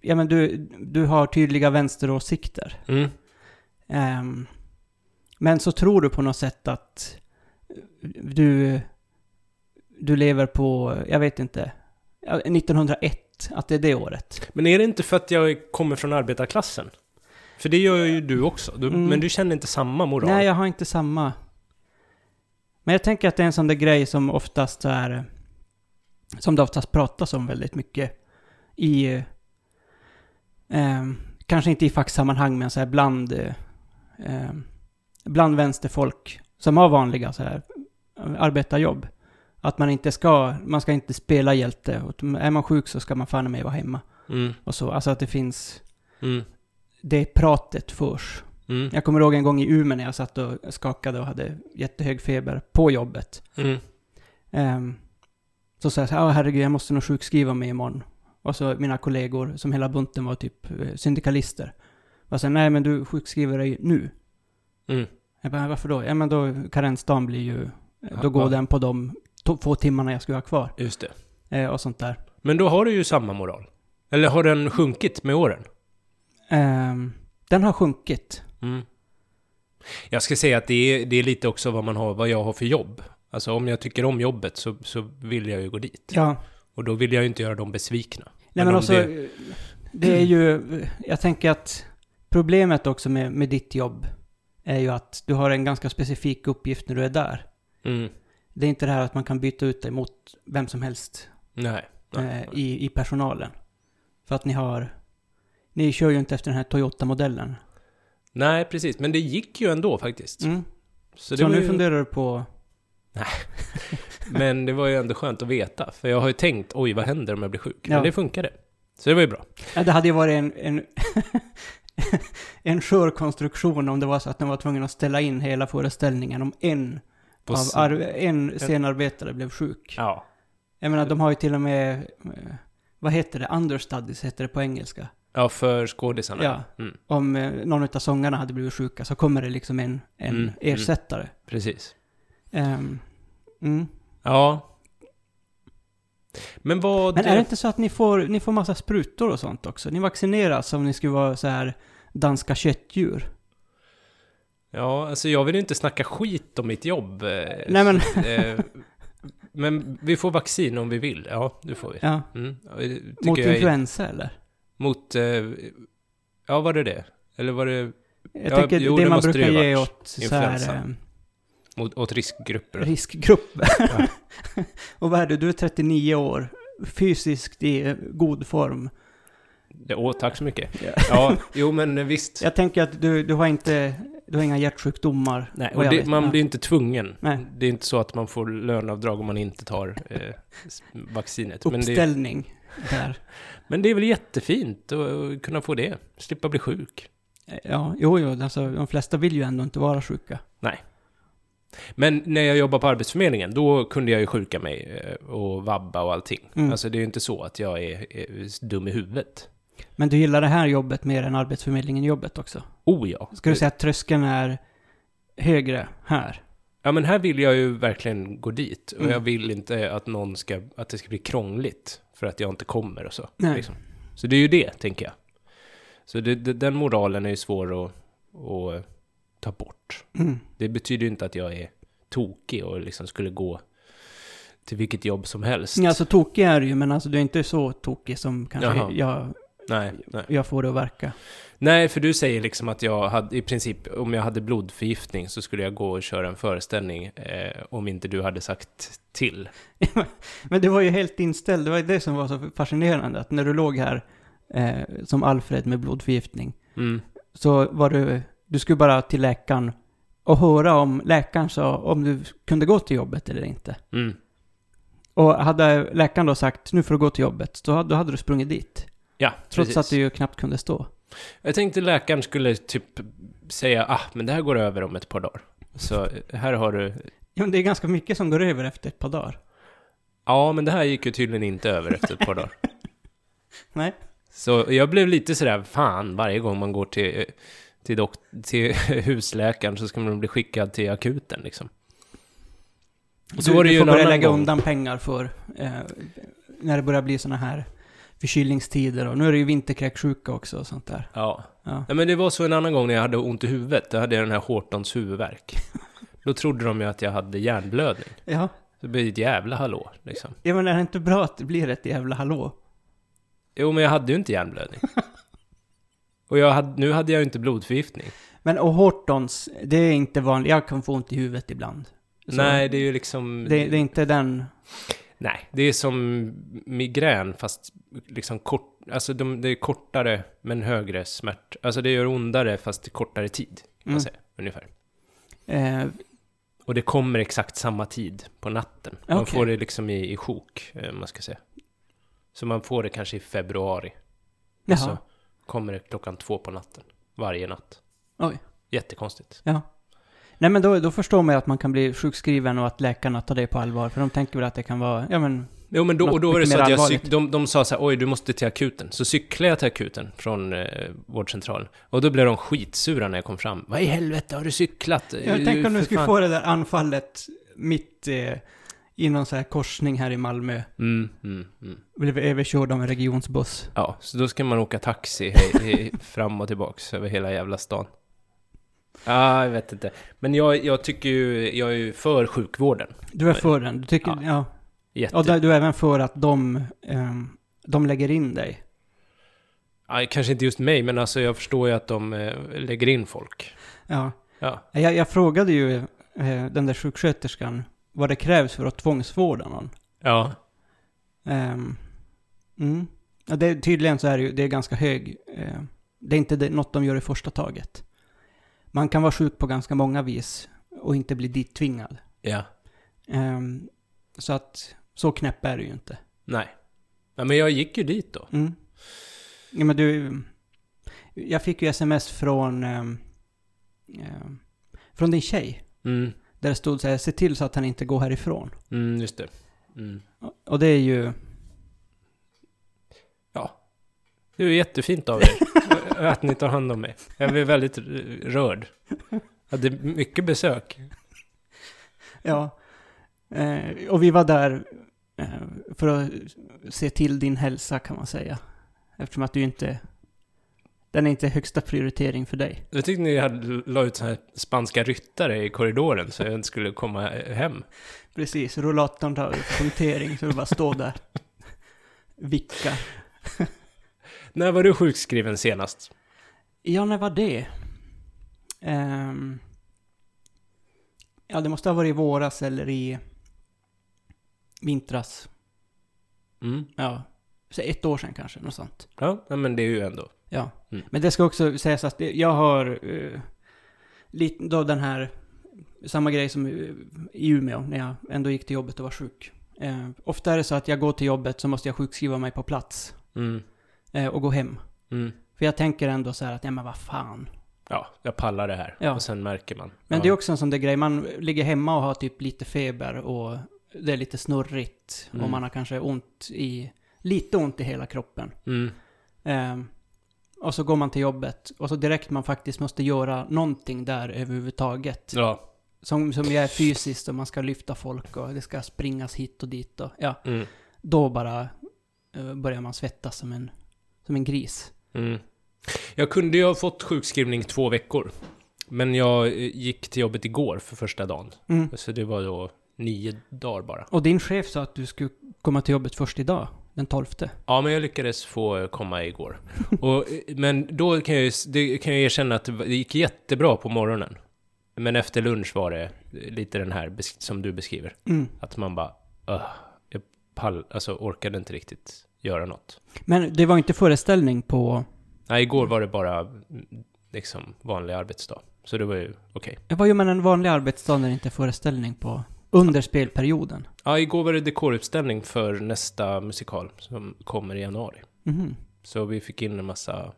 S2: Ja, men du, du har tydliga vänsteråsikter.
S1: Mm.
S2: Ehm, men så tror du på något sätt att du, du lever på, jag vet inte, ja, 1901, att det är det året.
S1: Men är det inte för att jag kommer från arbetarklassen? För det gör ju du också. Du,
S2: Mm.
S1: Men du känner inte samma moral?
S2: Nej, jag har inte samma. Men jag tänker att det är en sån där grej som oftast är... Som det oftast pratas om väldigt mycket i... eh, ehm, kanske inte i facksammanhang, men så här bland... eh, ehm, bland vänsterfolk som har vanliga så här eh, arbetarjobb. Att man inte ska, man ska inte spela hjälte. Och Är man sjuk så ska man fan i mig vara hemma.
S1: Mm,
S2: Och så, alltså att det finns,
S1: mm,
S2: det pratet förs.
S1: mm,
S2: Jag kommer ihåg en gång i Umeå när jag satt och skakade och hade jättehög feber på jobbet.
S1: mm,
S2: Ehm, så sa jag så här, "Ah, herregud, jag måste nog sjukskriva mig imorgon. Och så mina kollegor, som hela bunten var typ eh, syndikalister, var så här, nej men du sjukskriver dig nu.
S1: mm.
S2: Jag bara, varför då? Ja men då, karensdagen blir ju, eh, då
S1: Ja,
S2: går
S1: ja.
S2: den på de to- få timmarna jag skulle ha kvar.
S1: Just det.
S2: Eh, och sånt där.
S1: Men då har du ju samma moral. Eller har den sjunkit med åren?
S2: Ehm, den har sjunkit.
S1: Mm. Jag ska säga att det är, det är lite också vad man har, vad jag har för jobb. Alltså om jag tycker om jobbet så, så vill jag ju gå dit.
S2: Ja,
S1: Och då vill jag ju inte göra dem besvikna.
S2: Nej
S1: Men
S2: men
S1: om
S2: också, det... är ju, jag tänker att problemet också med, med ditt jobb är ju att du har en ganska specifik uppgift när du är där.
S1: Mm.
S2: Det är inte det här att man kan byta ut dig mot vem som helst
S1: Nej. nej.
S2: eh, i, i personalen. För att ni har, ni kör ju inte efter den här Toyota-modellen.
S1: nej, precis. Men det gick ju ändå faktiskt.
S2: Mm. Så,
S1: det var
S2: nu
S1: ju,
S2: funderar du på,
S1: Men det var ju ändå skönt att veta. För jag har ju tänkt, oj vad händer om jag blir sjuk?
S2: Ja.
S1: Men det funkade. Så det var ju bra.
S2: ja, det hade ju varit en, en, en skör konstruktion om det var så att de var tvungna att ställa in hela föreställningen om en,
S1: På
S2: av
S1: s-
S2: ar- en scenarbetare blev sjuk.
S1: Ja.
S2: Jag menar, de har ju till och med... eh, Vad heter det? Understudies heter det på engelska.
S1: ja, för skådisarna.
S2: Ja.
S1: Mm.
S2: Om eh, någon av sångarna hade blivit sjuka så kommer det liksom en, en
S1: Mm,
S2: ersättare.
S1: Precis.
S2: Ehm, mm.
S1: Ja. Men vad...
S2: Men är det inte så att ni får, ni får massa sprutor och sånt också? Ni vaccineras som om ni skulle vara så här danska köttdjur.
S1: Ja, alltså jag vill ju inte snacka skit om mitt jobb. eh,
S2: Nej, men-
S1: så att, eh, men vi får vaccin om vi vill. Ja, det får vi.
S2: Ja.
S1: Mm. Och det tycker
S2: Mot
S1: jag är-
S2: influensa eller?
S1: Mot... Eh, ja, var det det? Eller var det
S2: Jag
S1: Ja,
S2: tänker
S1: jo,
S2: det
S1: det
S2: man
S1: måste
S2: brukar
S1: det ju
S2: ge
S1: varit.
S2: åt så här,
S1: Influensa.
S2: ehm,
S1: mot, åt riskgrupper?
S2: riskgrupper.
S1: Ja.
S2: och vad är du? Du är 39 år, fysiskt i eh, god form.
S1: Det, åh, tack så mycket.
S2: Ja.
S1: Ja, jo men eh, visst.
S2: Jag tänker att du, du har inte, du har inga hjärtsjukdomar.
S1: Nej,
S2: vad
S1: och
S2: jag
S1: det,
S2: vet.
S1: man
S2: Ja.
S1: blir inte tvungen.
S2: Nej.
S1: Det är inte så att man får löneavdrag om man inte tar eh, s- vaccinet. Men det,
S2: Uppställning där.
S1: men det är väl jättefint att, att kunna få det. Slippa bli sjuk.
S2: Ja, jo, jo, alltså de flesta vill ju ändå inte vara sjuka.
S1: Men när jag jobbade på Arbetsförmedlingen, då kunde jag ju sjuka mig eh, och vabba och allting.
S2: Mm.
S1: Alltså det är ju inte så att jag är, är dum i huvudet.
S2: Men du gillar det här jobbet mer än Arbetsförmedlingen-jobbet också?
S1: Oh ja.
S2: Ska du säga att tröskeln är högre här?
S1: Ja men här vill jag ju verkligen gå dit. Och
S2: Mm.
S1: jag vill inte att någon ska, att det ska bli krångligt för att jag inte kommer och så.
S2: Nej.
S1: liksom. Så det är ju det, tänker jag. Så det, det, den moralen är ju svår att, att ta bort.
S2: Mm.
S1: Det betyder ju inte att jag är tokig och liksom skulle gå till vilket jobb som helst.
S2: Ja, alltså tokig är du ju, men alltså du är inte så tokig som
S1: Jaha.
S2: kanske jag,
S1: nej, nej.
S2: jag får det att verka.
S1: Nej, för du säger liksom att jag hade, i princip, om jag hade blodförgiftning så skulle jag gå och köra en föreställning eh, om inte du hade sagt till.
S2: Men du var ju helt inställd, det var ju det som var så fascinerande, att när du låg här eh, som Alfred med blodförgiftning,
S1: Mm.
S2: så var du, du skulle bara till läkaren och höra om läkaren sa om du kunde gå till jobbet eller inte.
S1: Mm.
S2: Och hade läkaren då sagt nu får du gå till jobbet, så hade- då hade du sprungit dit.
S1: Ja,
S2: Trots
S1: precis.
S2: att du ju knappt kunde stå.
S1: Jag tänkte läkaren skulle typ säga ah, men det här går över om ett par dagar. Så eh, här har du...
S2: Ja, men det är ganska mycket som går över efter ett par dagar.
S1: Ja, men det här gick ju tydligen inte över efter ett par dagar.
S2: Nej.
S1: Så jag blev lite sådär, fan, varje gång man går till, eh, till, dokt- till husläkaren så ska man bli skickad till akuten liksom. Och så
S2: du,
S1: var det
S2: du
S1: ju
S2: får
S1: en
S2: börja
S1: annan
S2: lägga
S1: gång.
S2: undan pengar för eh, när det börjar bli sådana här förkylningstider och nu är det ju vinterkräksjuka också och sånt där.
S1: Ja.
S2: Ja.
S1: Nej, men det var så en annan gång när jag hade ont i huvudet. Då hade jag den här Hortons huvudvärk. Då trodde de ju att jag hade hjärnblödning.
S2: ja.
S1: Det blir ett jävla hallå liksom.
S2: Ja, men är det inte bra att det blir ett jävla hallå?
S1: Jo, men jag hade ju inte hjärnblödning. Och jag hade, nu hade jag ju inte blodförgiftning.
S2: Men och Hortons, det är inte vanligt. Jag kan få ont i huvudet ibland. Så
S1: Nej, det är ju liksom...
S2: Det, det är inte den... Mm.
S1: Nej, det är som migrän fast liksom kort... Alltså de, det är kortare men högre smärt... Alltså det gör ondare fast i kortare tid. Kan
S2: Mm.
S1: man säga, ungefär.
S2: Eh,
S1: Och det kommer exakt samma tid på natten. Man
S2: Okej.
S1: får det liksom i, i sjok, eh, man ska säga. Så man får det kanske i februari.
S2: jaha.
S1: Så kommer det klockan två på natten. Varje natt.
S2: Oj.
S1: Jättekonstigt.
S2: Ja. Nej men då, då förstår man ju att man kan bli sjukskriven och att läkarna tar det på allvar. För de tänker väl att det kan vara, ja men,
S1: Jo men då,
S2: Något
S1: och då var det
S2: mycket
S1: så
S2: mer
S1: att jag cyk,
S2: allvarligt.
S1: de, de sa så här, oj du måste till akuten. Så cyklade jag till akuten från eh, vårdcentralen. Och då blev de skitsura när jag kom fram. Vad i helvete har du cyklat?
S2: jag tänker om du
S1: Eh, För
S2: skulle
S1: fan."
S2: få det där anfallet mitt eh, i någon så här korsning här i Malmö.
S1: Mm, mm, mm.
S2: Blev överkörd av en regionsbuss.
S1: Ja, så då ska man åka taxi hej, hej, fram och tillbaks över hela jävla stan. ah, jag vet inte. Men jag, jag tycker ju, jag är ju för sjukvården.
S2: Du är för den, du tycker,
S1: Ja.
S2: ja.
S1: Jätte.
S2: Och där- du är även för att de, ehm, de lägger in dig.
S1: Ah, kanske inte just mig, men alltså jag förstår ju att de eh, lägger in folk.
S2: Ja.
S1: Ja.
S2: Jag, jag frågade ju eh, den där sjuksköterskan vad det krävs för att tvångsvårda någon.
S1: Ja.
S2: Ehm, mm. ja, det, är- tydligen så är det ju, det är ganska hög. eh, det är inte det, något de gör i första taget. Man kan vara sjuk på ganska många vis och inte bli dit tvingad.
S1: Ja.
S2: Ehm, så att så knäpp är det ju inte.
S1: Nej. Ja, men jag gick ju dit då.
S2: Mm. Ja, men du, jag fick ju sms från, ehm, ehm, från din tjej.
S1: Mm,
S2: Där det stod så här, se till så att han inte går härifrån.
S1: mm just det. Mm.
S2: Och- Och det är ju,
S1: Ja. Det är ju jättefint av er att ni tar hand om mig. Jag blev väldigt r- rörd. Jag hade mycket besök.
S2: Ja. Eh, och vi var där eh, för att se till din hälsa kan man säga. Eftersom att du inte... Den är inte högsta prioritering för dig.
S1: Jag tyckte ni hade la ut så här spanska ryttare i korridoren så jag inte skulle komma hem.
S2: Precis, rullatorn tar punktering så du bara står där. Vicka.
S1: När var du sjukskriven senast?
S2: Ja, när var det? Ehm, ja, det måste ha varit i våras eller i vintras.
S1: Mm.
S2: Ja, så ett år sedan kanske, något sånt.
S1: Ja, ja, men det är ju ändå.
S2: Ja,
S1: Mm.
S2: men det ska också sägas att det- jag har eh, lite då den här, samma grej som eh, i Umeå när jag ändå gick till jobbet och var sjuk. Eh, ofta är det så att jag går till jobbet så måste jag sjukskriva mig på plats
S1: Mm.
S2: eh, och gå hem.
S1: Mm.
S2: För jag tänker ändå så här att, ja men vad fan.
S1: Ja, jag pallar det här.
S2: Ja.
S1: Och sen märker man.
S2: Men
S1: ja.
S2: det är också en sån där grej, man ligger hemma och har typ lite feber och det är lite snurrigt
S1: Mm.
S2: och man har kanske ont i, lite ont i hela kroppen.
S1: Mm.
S2: Ehm, och så går man till jobbet och så direkt man faktiskt måste göra någonting där överhuvudtaget.
S1: Ja.
S2: Som, som är fysiskt och man ska lyfta folk och det ska springas hit och dit och ja,
S1: Mm.
S2: då bara eh, börjar man svettas som en, som en gris.
S1: Mm. Jag kunde ju ha fått sjukskrivning två veckor. Men jag eh, gick till jobbet igår för första dagen.
S2: Mm.
S1: Så det var då nio dagar bara.
S2: Och din chef sa att du skulle komma till jobbet först idag, den 12.
S1: Ja, men jag lyckades få eh, komma igår. Och, eh, men då kan jag, ju- det kan jag erkänna att det gick jättebra på morgonen. Men efter lunch var det eh, lite den här besk- som du beskriver.
S2: Mm.
S1: Att man bara, "Ugh, jag pall, alltså orkade inte riktigt göra något.
S2: Men det var inte föreställning på...
S1: Nej, igår var det bara mm, liksom vanlig arbetsdag. Så det var ju okej.
S2: Vad gör man en vanlig arbetsdag när det inte är föreställning på? Under spelperioden?
S1: Ja, igår var det dekoruppställning för nästa musikal som kommer i januari.
S2: Mhm.
S1: Så vi fick in en massa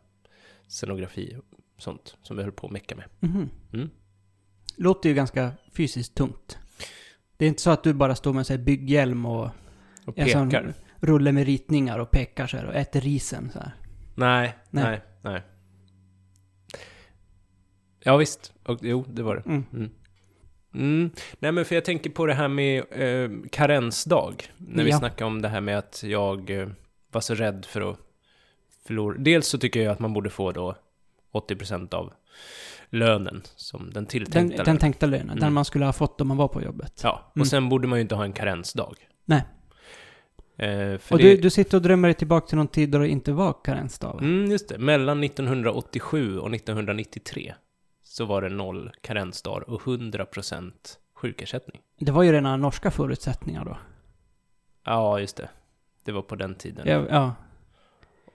S1: scenografi och sånt som vi höll på att mecka med.
S2: Mhm.
S1: Mm.
S2: Låter ju ganska fysiskt tungt. Det är inte så att du bara står med en sån här bygghjälm och
S1: Och
S2: en sån
S1: pekar.
S2: rulle med ritningar och pekar så här och äter risen så här.
S1: Nej, nej,
S2: Nej.
S1: nej. Ja, visst. Och, jo, det var det.
S2: Mm.
S1: Mm. Nej, men för jag tänker på det här med eh, karensdag. När vi
S2: Ja.
S1: snackade om det här med att jag eh, var så rädd för att förlora. Dels så tycker jag att man borde få då 80% av lönen som den
S2: Den,
S1: tilltänkta
S2: den
S1: lönen.
S2: tänkta lönen,
S1: Mm.
S2: den man skulle ha fått om man var på jobbet.
S1: Ja, och
S2: Mm.
S1: sen borde man ju inte ha en karensdag.
S2: Nej.
S1: Eh, för
S2: Och
S1: det,
S2: du, du sitter och drömmer dig tillbaka till någon tid då det inte var karensdag? va?
S1: Mm, just det. Mellan 1987 och 1993 så var det noll karensdagar och 100% sjukersättning.
S2: Det var ju rena norska förutsättningar då.
S1: Ja, just det. Det var på den tiden.
S2: Ja, ja.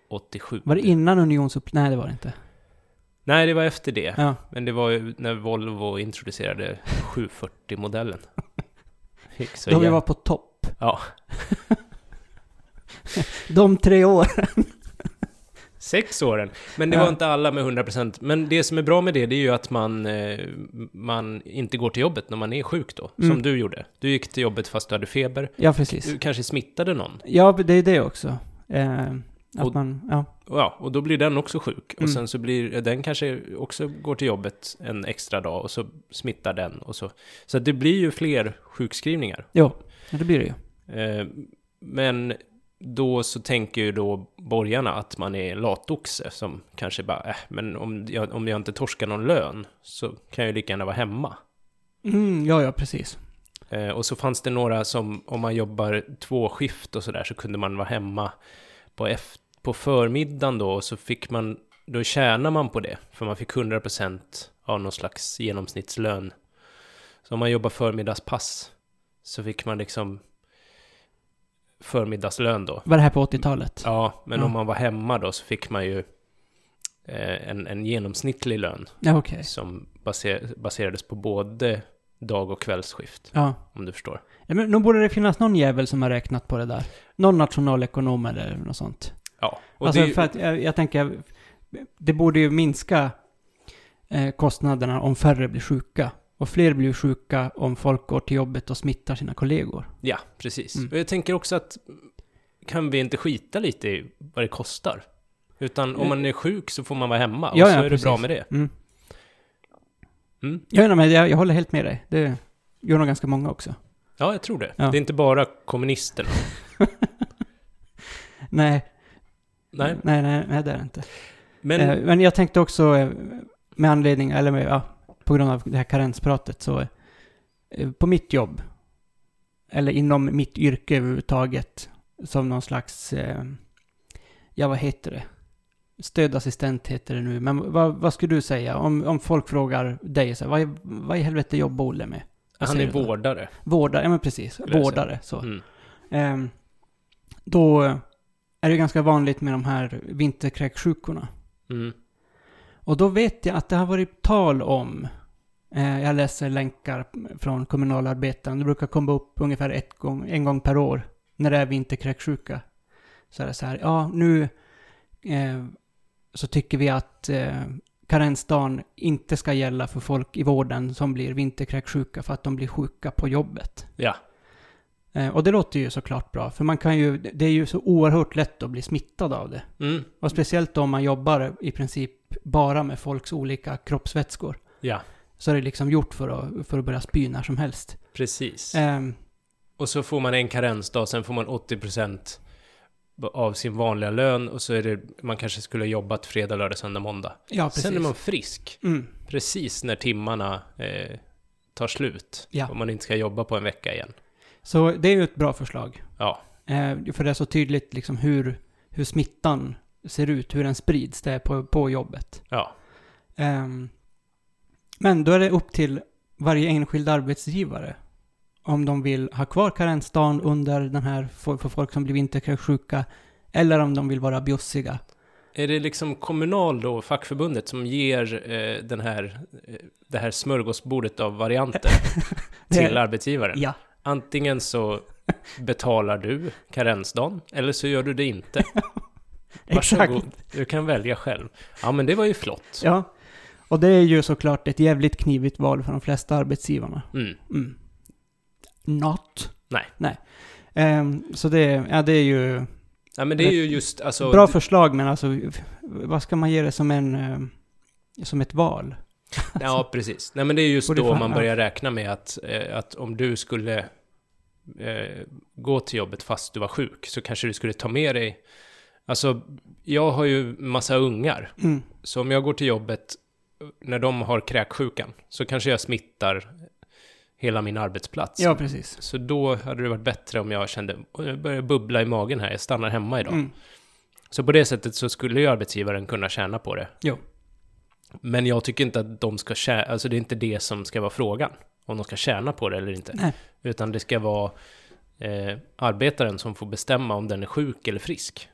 S1: 87.
S2: Var det innan unionsupp... Nej, det var det inte.
S1: Nej, det var efter det.
S2: Ja.
S1: Men det var ju när Volvo introducerade 740-modellen. Gick så
S2: Då vi
S1: jävla-
S2: var på topp.
S1: Ja.
S2: De tre år.
S1: Sex åren. Men det
S2: Ja.
S1: var inte alla med 100%. Men det som är bra med det, det är ju att man, eh, man inte går till jobbet när man är sjuk då. Som
S2: Mm.
S1: du gjorde. Du gick till jobbet fast du hade feber.
S2: Ja, precis.
S1: Du kanske smittade någon.
S2: Ja, det är det också. Eh, att
S1: Och-
S2: man... Ja.
S1: Ja, och då blir den också sjuk. Och
S2: Mm.
S1: sen så blir den kanske också går till jobbet en extra dag och så smittar den och så. Så att det blir ju fler sjukskrivningar.
S2: Jo, ja, det blir det ju.
S1: Eh, Men då så tänker ju då borgarna att man är latoxe som kanske bara, äh, men om jag, om jag inte torskar någon lön så kan jag ju lika gärna vara hemma.
S2: Mm, ja, ja, precis.
S1: Eh, Och så fanns det några som, om man jobbar två skift och sådär, så kunde man vara hemma på, eft- på förmiddagen då, och så fick man, då tjänar man på det, för man fick 100% av någon slags genomsnittslön. Så om man jobbar förmiddagspass, så fick man liksom förmiddagslön då.
S2: Var det här på 80-talet?
S1: Ja, men
S2: Ja.
S1: om man var hemma då så fick man ju eh, en, en genomsnittlig lön
S2: Ja, okej.
S1: som baser, baserades på både dag och kvällsskift,
S2: Ja.
S1: om du förstår.
S2: Ja, Men nog borde det finnas någon jävel som har räknat på det där. Någon nationalekonom eller något sånt.
S1: Ja, och
S2: Alltså,
S1: det,
S2: för att jag, jag tänker, det borde ju minska eh, kostnaderna om färre blir sjuka. Och fler blir sjuka om folk går till jobbet och smittar sina kollegor.
S1: ja, precis.
S2: Mm.
S1: Och jag tänker också att kan vi inte skita lite i vad det kostar? Utan om man är sjuk så får man vara hemma och
S2: Eh. Ja,
S1: så
S2: ja,
S1: är det
S2: precis.
S1: bra med det.
S2: Mm.
S1: Mm.
S2: Ja, nej, men jag, jag håller helt med dig. Det gör nog ganska många också.
S1: Ja, jag tror det.
S2: Ja.
S1: Det är inte bara kommunisterna.
S2: Nej,
S1: Nej,
S2: nej, nej, nej det är det inte.
S1: men
S2: Eh, Men jag tänkte också eh, med anledning, eller med, ja, på grund av det här karenspratet så eh, på mitt jobb, eller inom mitt yrke överhuvudtaget, som någon slags, eh, ja vad heter det? Stödassistent heter det nu, men vad, vad skulle du säga om, om folk frågar dig så här, vad, i- vad i helvete jobbar Olle med? vad
S1: han
S2: säger
S1: är
S2: du då?
S1: vårdare.
S2: Vårdare, ja men precis,
S1: Skulle jag säga.
S2: vårdare så.
S1: Mm.
S2: Ehm, då eh, är det ganska vanligt med de här vinterkräksjukorna.
S1: Mm.
S2: Och då vet jag att det har varit tal om, eh, jag läser länkar från kommunalarbetaren, det brukar komma upp ungefär ett gång, en gång per år när det är vinterkräksjuka. Så är det så här, ja nu eh, så tycker vi att eh, karensdagen inte ska gälla för folk i vården som blir vinterkräksjuka för att de blir sjuka på jobbet.
S1: Ja,
S2: Eh, och det låter ju såklart bra, för man kan ju, det är ju så oerhört lätt att bli smittad av det.
S1: mm.
S2: Och speciellt om man jobbar i princip bara med folks olika kroppsvätskor.
S1: ja,
S2: Så är det liksom gjort för att, för att börja spy när som helst.
S1: precis.
S2: Ehm,
S1: Och så får man en karensdag, sen får man 80% av sin vanliga lön och så är det, man kanske skulle ha jobbat fredag, lördag, söndag, måndag.
S2: ja, precis.
S1: Sen är man frisk,
S2: mm,
S1: precis när timmarna eh, tar slut.
S2: Ja.
S1: Om man inte ska jobba på en vecka igen.
S2: så det är ju ett bra förslag.
S1: Ja,
S2: Ehm, för det är så tydligt liksom hur, hur smittan ser ut, hur den sprids det är på, på jobbet.
S1: ja,
S2: Ehm, men då är det upp till varje enskild arbetsgivare om de vill ha kvar karensdagen under den här för, för folk som blir vinterkräksjuka eller om de vill vara bjussiga.
S1: Är det liksom Kommunal då, fackförbundet, som ger eh, den här, eh, det här smörgåsbordet av varianter till
S2: Det-
S1: arbetsgivaren?
S2: Ja.
S1: Antingen så betalar du karensdagen, eller så gör du det inte. Varsågod, du kan välja själv. Ja, men det var ju flott.
S2: Ja. Och det är ju såklart ett jävligt knivigt val för de flesta arbetsgivarna.
S1: Mm.
S2: Mm. Not.
S1: Nej.
S2: Nej. Ehm, så det, ja, det är ju
S1: Ja, men det är ju just, alltså...
S2: bra förslag, men alltså vad ska man ge det som en... ehm, som ett val?
S1: Ja, precis. Nej, men det är just
S2: Och det
S1: då
S2: Alltså. fan-
S1: man börjar räkna med att, eh, att om du skulle eh, gå till jobbet fast du var sjuk så kanske du skulle ta med dig... Alltså, jag har ju massa ungar,
S2: Mm.
S1: så om jag går till jobbet när de har kräksjukan så kanske jag smittar hela min arbetsplats.
S2: Ja, precis.
S1: Så då hade det varit bättre om jag kände, "Oj, jag börjar bubbla i magen här, jag stannar hemma idag.
S2: Mm.
S1: Så på det sättet så skulle ju arbetsgivaren kunna tjäna på det.
S2: Jo.
S1: Men jag tycker inte att de ska tjäna, alltså det är inte det som ska vara frågan. Om de ska tjäna på det eller inte.
S2: Nej.
S1: Utan det ska vara eh, arbetaren som får bestämma om den är sjuk eller frisk.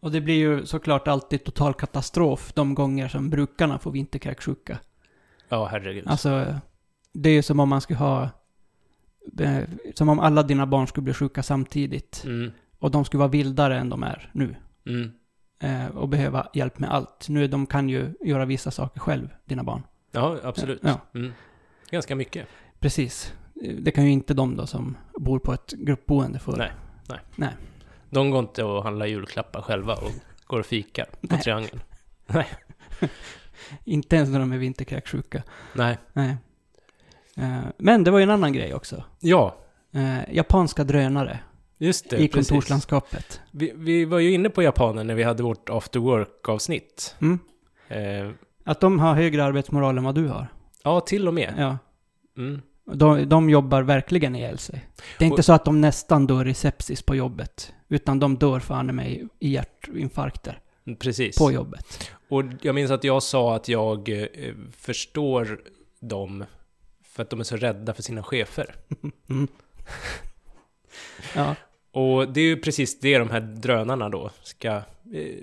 S2: Och det blir ju såklart alltid total katastrof de gånger som brukarna får vinterkräksjuka.
S1: Ja, herregud.
S2: Alltså, det är ju som om man skulle ha... eh, Som om alla dina barn skulle bli sjuka samtidigt.
S1: Mm,
S2: Och de skulle vara vildare än de är nu.
S1: mm,
S2: eh, Och behöva hjälp med allt. Nu, de kan ju göra vissa saker själv, dina barn.
S1: ja, absolut.
S2: Ja.
S1: Mm. Ganska mycket.
S2: Precis. Eh, Det kan ju inte de då som bor på ett gruppboende för.
S1: Nej. De går inte och handlar julklappar själva och går och fikar på
S2: Nej.
S1: Triangeln.
S2: Inte ens när de är vinterkräksjuka.
S1: Nej.
S2: Nej. Eh, Men det var ju en annan grej också.
S1: Ja,
S2: Eh, Japanska drönare
S1: just det.
S2: i
S1: precis.
S2: kontorslandskapet.
S1: Vi, vi var ju inne på japaner när vi hade vårt after work-avsnitt.
S2: Mm.
S1: Eh,
S2: Att de har högre arbetsmoral än vad du har.
S1: ja, till och med.
S2: Ja.
S1: Mm.
S2: De, de jobbar verkligen ihjäl sig. Det är inte
S1: Och-
S2: så att de nästan dör i sepsis på jobbet. Utan de dör fan i mig i hjärtinfarkter
S1: Precis.
S2: på jobbet.
S1: Och jag minns att jag sa att jag eh, förstår dem för att de är så rädda för sina chefer.
S2: Ja.
S1: Och det är ju precis det de här drönarna då ska... eh,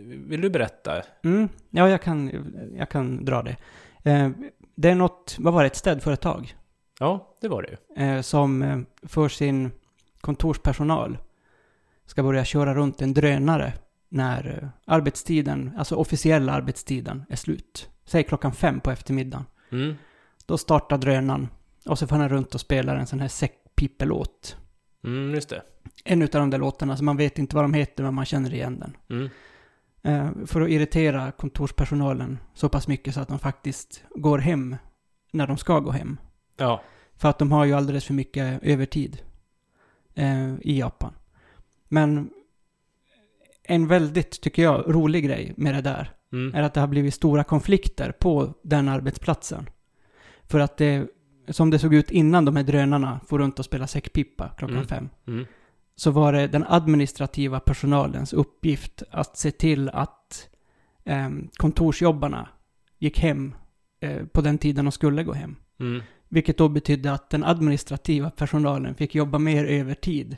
S1: Vill du berätta?
S2: Mm. ja, jag kan, jag kan dra det. Eh, Det är något, vad var det, ett städföretag?
S1: Ja, det var det ju.
S2: eh, som eh, för sin kontorspersonal ska börja köra runt en drönare när eh, arbetstiden, alltså officiella arbetstiden, är slut. Säg klockan fem på eftermiddagen.
S1: Mm.
S2: Då startar drönaren och så får den runt och spelar en sån här säckpipelåt.
S1: Mm, just det.
S2: En utav de där låtarna, så man vet inte vad de heter men man känner igen den.
S1: Mm.
S2: Eh, för att irritera kontorspersonalen så pass mycket så att de faktiskt går hem när de ska gå hem.
S1: Ja.
S2: För att de har ju alldeles för mycket övertid eh, i Japan. Men en väldigt, tycker jag, rolig grej med det där
S1: Mm.
S2: är att det har blivit stora konflikter på den arbetsplatsen. För att det, som det såg ut innan de här drönarna får runt och spela säckpipa klockan
S1: Mm.
S2: fem,
S1: Mm.
S2: så var det den administrativa personalens uppgift att se till att eh, kontorsjobbarna gick hem eh, på den tiden de skulle gå hem.
S1: Mm.
S2: Vilket då betydde att den administrativa personalen fick jobba mer övertid.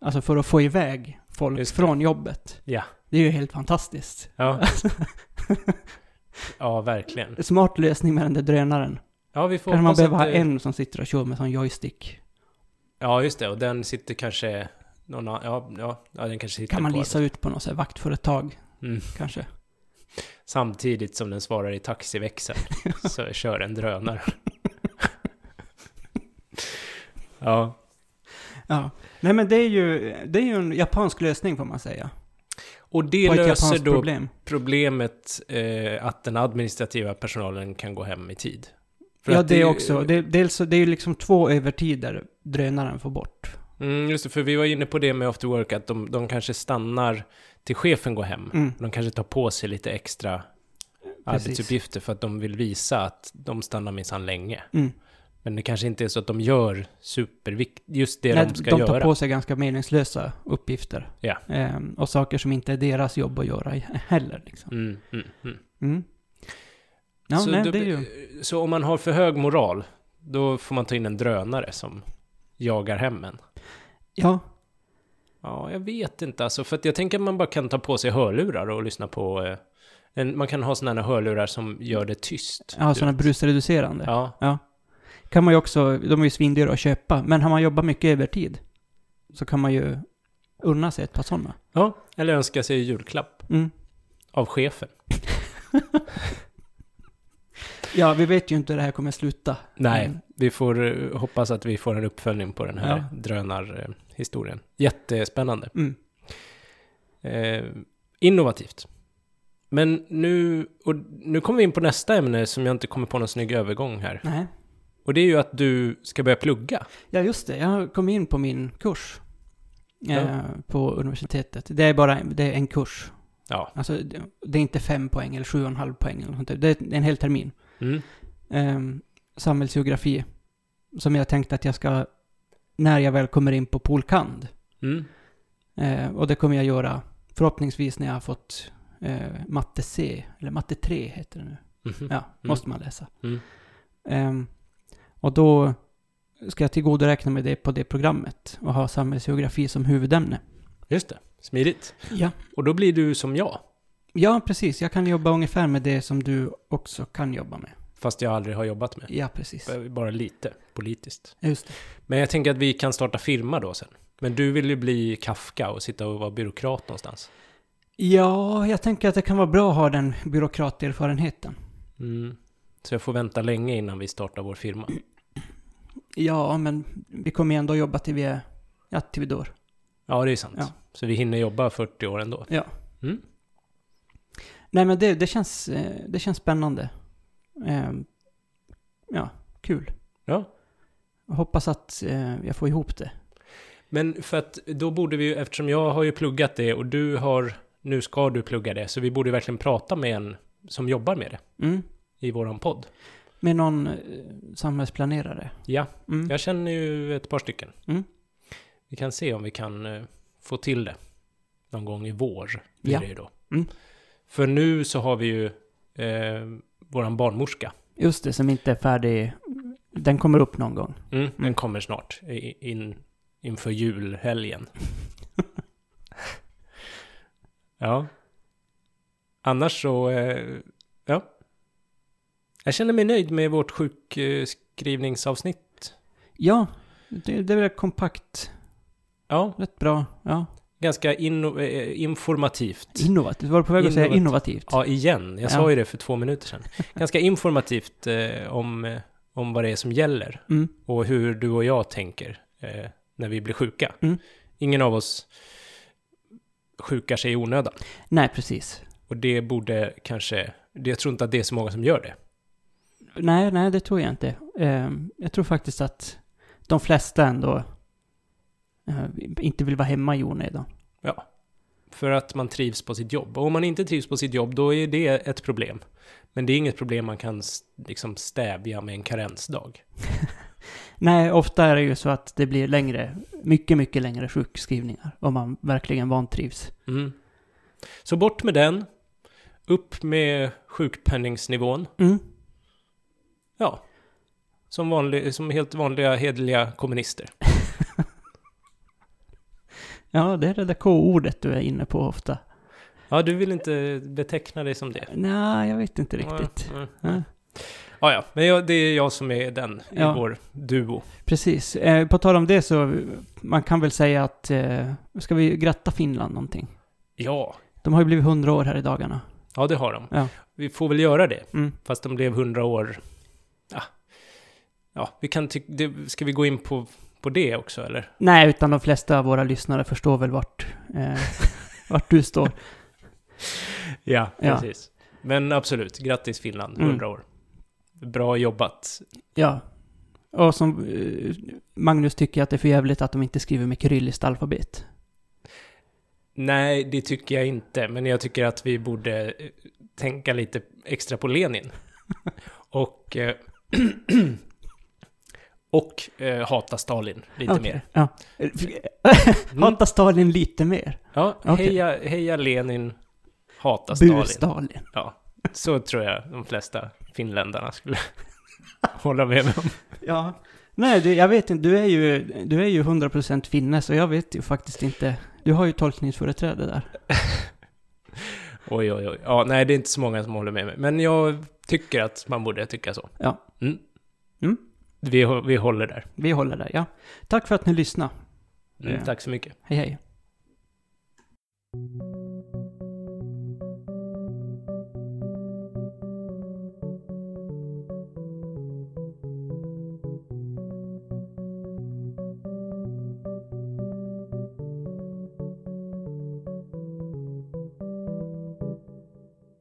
S2: Alltså för att få iväg folk
S1: Just det.
S2: från jobbet.
S1: Ja.
S2: Det är ju helt fantastiskt.
S1: Ja. ja, verkligen.
S2: Smart lösning med den där drönaren.
S1: Ja, vi får
S2: Kanske man
S1: hoppas
S2: behöver ha
S1: att eh, det-
S2: en som sitter och kör med sån joystick.
S1: Ja, just det. Och den sitter kanske... Någon annan... ja, ja, ja, den kanske sitter
S2: Kan man
S1: på
S2: lisa ut på något så här vaktföretag
S1: Mm.
S2: kanske.
S1: Samtidigt som den svarar i taxiväxeln så kör en drönare. ja.
S2: Ja. Nej men det är ju, det är ju en japansk lösning får man säga.
S1: Och det
S2: på ett
S1: löser
S2: japanskt
S1: då
S2: problem.
S1: problemet eh, att den administrativa personalen kan gå hem i tid. För
S2: Ja
S1: att
S2: det är också. Det, dels så det är ju liksom två övertider drönaren får bort.
S1: Mm, just det, för vi var inne på det med after work, att de, de kanske stannar till chefen går hem.
S2: Mm.
S1: De kanske tar på sig lite extra arbetsuppgifter för att de vill visa att de stannar minsann länge.
S2: Mm.
S1: Men det kanske inte är så att de gör supervikt, just det
S2: Nej,
S1: de ska
S2: de tar
S1: göra.
S2: på sig ganska meningslösa uppgifter.
S1: Ja.
S2: Ehm, och saker som inte är deras jobb att göra he- heller. Liksom.
S1: Mm, mm, mm.
S2: Mm. Ja,
S1: så,
S2: nej,
S1: då-
S2: det är ju...
S1: så om man har för hög moral, då får man ta in en drönare som jagar hem en.
S2: Ja,
S1: Ja, jag vet inte alltså, för att jag tänker att man bara kan ta på sig hörlurar och lyssna på... Eh, en, man kan ha sådana här hörlurar som gör det tyst.
S2: ja
S1: Du-
S2: sådana brusreducerande.
S1: Ja,
S2: Kan man ju också, de är ju svindyra att köpa, men har man jobbat mycket övertid så kan man ju unna sig ett par sådana.
S1: ja, eller önska sig julklapp
S2: Mm.
S1: av chefen.
S2: Ja, vi vet ju inte hur det här kommer sluta.
S1: Nej,
S2: Mm.
S1: vi får eh, hoppas att vi får en uppföljning på den här
S2: Ja.
S1: drönarhistorien. Jättespännande.
S2: Mm.
S1: Eh, innovativt. Men nu, och nu kommer vi in på nästa ämne som jag inte kommer på någon snygg övergång här.
S2: Nej.
S1: Och det är ju att du ska börja plugga.
S2: Ja, just det. Jag kom in på min kurs.
S1: Ja.
S2: Eh, på universitetet. Det är bara en, det är en kurs.
S1: Ja,
S2: Alltså, det- det är inte fem poäng eller sju och en halv poäng eller något sånt där. Det är en hel termin.
S1: Mm.
S2: ehm, samhällsgeografi. Som jag tänkte att jag ska, när jag väl kommer in på Polkand.
S1: Mm.
S2: Eh, och det kommer jag göra förhoppningsvis när jag har fått eh, matte C, eller matte 3 heter det nu.
S1: Mhm.
S2: Ja, måste man läsa.
S1: Mm.
S2: Ehm, och då ska jag tillgodoräkna mig det på det programmet och ha samhällsgeografi som huvudämne.
S1: Just det, smidigt.
S2: Ja.
S1: Och då blir du som jag,
S2: ja, precis. Jag kan jobba ungefär med det som du också kan jobba med.
S1: fast jag aldrig har jobbat med.
S2: Ja, precis.
S1: Bara lite, politiskt.
S2: Just det.
S1: Men jag tänker att vi kan starta firma då sen. Men du vill ju bli Kafka och sitta och vara byråkrat någonstans.
S2: Ja, jag tänker att det kan vara bra att ha den byråkraterfarenheten.
S1: Mm. Så jag får vänta länge innan vi startar vår firma.
S2: Ja, men vi kommer ju ändå jobba till vi är, ja, till vi dör.
S1: Ja, det är sant.
S2: Ja.
S1: Så vi hinner jobba 40 år ändå.
S2: Ja.
S1: Mm.
S2: Nej, men det, det, känns, eh, det känns spännande. Ehm, ja, kul.
S1: Ja.
S2: Jag hoppas att eh, jag får ihop det.
S1: Men för att då borde vi ju, eftersom jag har ju pluggat det och du har, nu ska du plugga det, så vi borde verkligen prata med en som jobbar med det
S2: Mm.
S1: i våran podd.
S2: Med någon eh, samhällsplanerare.
S1: Ja,
S2: Mm.
S1: jag känner ju ett par stycken.
S2: Mm.
S1: Vi kan se om vi kan eh, få till det någon gång i vår. Blir
S2: Ja.
S1: det ju då.
S2: Mm.
S1: För nu så har vi ju eh, våran barnmorska.
S2: Just det, som inte är färdig. Den kommer upp någon gång.
S1: Mm, Den kommer snart, i- in, inför julhelgen. ja. Annars så, eh, ja. Jag känner mig nöjd med vårt sjukskrivningsavsnitt.
S2: Ja, det, det är väl kompakt.
S1: Ja,
S2: Rätt bra. Ja.
S1: ganska inno, eh, informativt.
S2: Innovativt. Var du på väg att säga
S1: Innovativt.
S2: innovativt?
S1: Ja, igen. Jag
S2: Ja.
S1: sa ju det för två minuter sedan. Ganska informativt eh, om, eh, om vad det är som gäller
S2: Mm.
S1: och hur du och jag tänker eh, när vi blir sjuka.
S2: Mm.
S1: Ingen av oss sjukar sig i onödan.
S2: Nej, precis.
S1: Och det borde kanske... det- Jag tror inte att det är så många som gör det.
S2: Nej, nej, det tror jag inte. Ehm, jag tror faktiskt att de flesta ändå eh, inte vill vara hemma i onödan.
S1: För att man trivs på sitt jobb. Och om man inte trivs på sitt jobb, då är det ett problem. Men det är inget problem man kan s- liksom stävja med en karensdag.
S2: Nej, ofta är det ju så att det blir längre, mycket, mycket längre sjukskrivningar om man verkligen vantrivs.
S1: Mm. Så bort med den. Upp med sjukpenningsnivån.
S2: Mm.
S1: Ja. Som, vanlig, som helt vanliga hederliga kommunister.
S2: Ja, det är det där K-ordet du är inne på ofta.
S1: Ja, du vill inte beteckna dig som det.
S2: Nej, jag vet inte riktigt.
S1: Ja, ja.
S2: Ja.
S1: Ja, ja. Men jag, det är jag som är den i
S2: Ja.
S1: vår duo.
S2: Precis. Eh, på tal om det så, man kan väl säga att, eh, ska vi gratta Finland någonting?
S1: Ja,
S2: De har ju blivit 100 år här i dagarna.
S1: ja det har de.
S2: Ja.
S1: Vi får väl göra det.
S2: Mm.
S1: Fast de blev 100 år... Ja, ja vi kan ty- det, Ska vi gå in på, på det också, eller?
S2: Nej, utan de flesta av våra lyssnare förstår väl vart, eh, vart du står.
S1: Ja,
S2: Ja.
S1: precis. Men absolut, grattis Finland,
S2: Mm.
S1: 100 år. Bra jobbat.
S2: Ja. Och som eh, Magnus tycker att det är för jävligt att de inte skriver med kyrilliskt alfabet.
S1: Nej, det tycker jag inte, men jag tycker att vi borde eh, tänka lite extra på Lenin. Och... eh, Och eh, hata Stalin lite
S2: Okej,
S1: mer.
S2: Ja.
S1: Mm.
S2: Hata Stalin lite mer.
S1: Ja,
S2: Okej.
S1: heja, heja Lenin, hata
S2: Bu
S1: Stalin.
S2: Stalin.
S1: Ja, så tror jag de flesta finländarna skulle hålla med mig om.
S2: Ja. Nej, du, jag vet inte. Du är ju, du är ju 100% finne, så jag vet ju faktiskt inte. Du har ju tolkningsföreträde där.
S1: Oj, oj, oj. Ja, nej, det är inte så många som håller med mig. Men jag tycker att man borde tycka så.
S2: Ja.
S1: Mm.
S2: Mm.
S1: Vi, hå- vi håller där.
S2: Vi håller där, ja. Tack för att ni lyssnade.
S1: Mm,
S2: Ja.
S1: Tack så mycket.
S2: Hej, hej.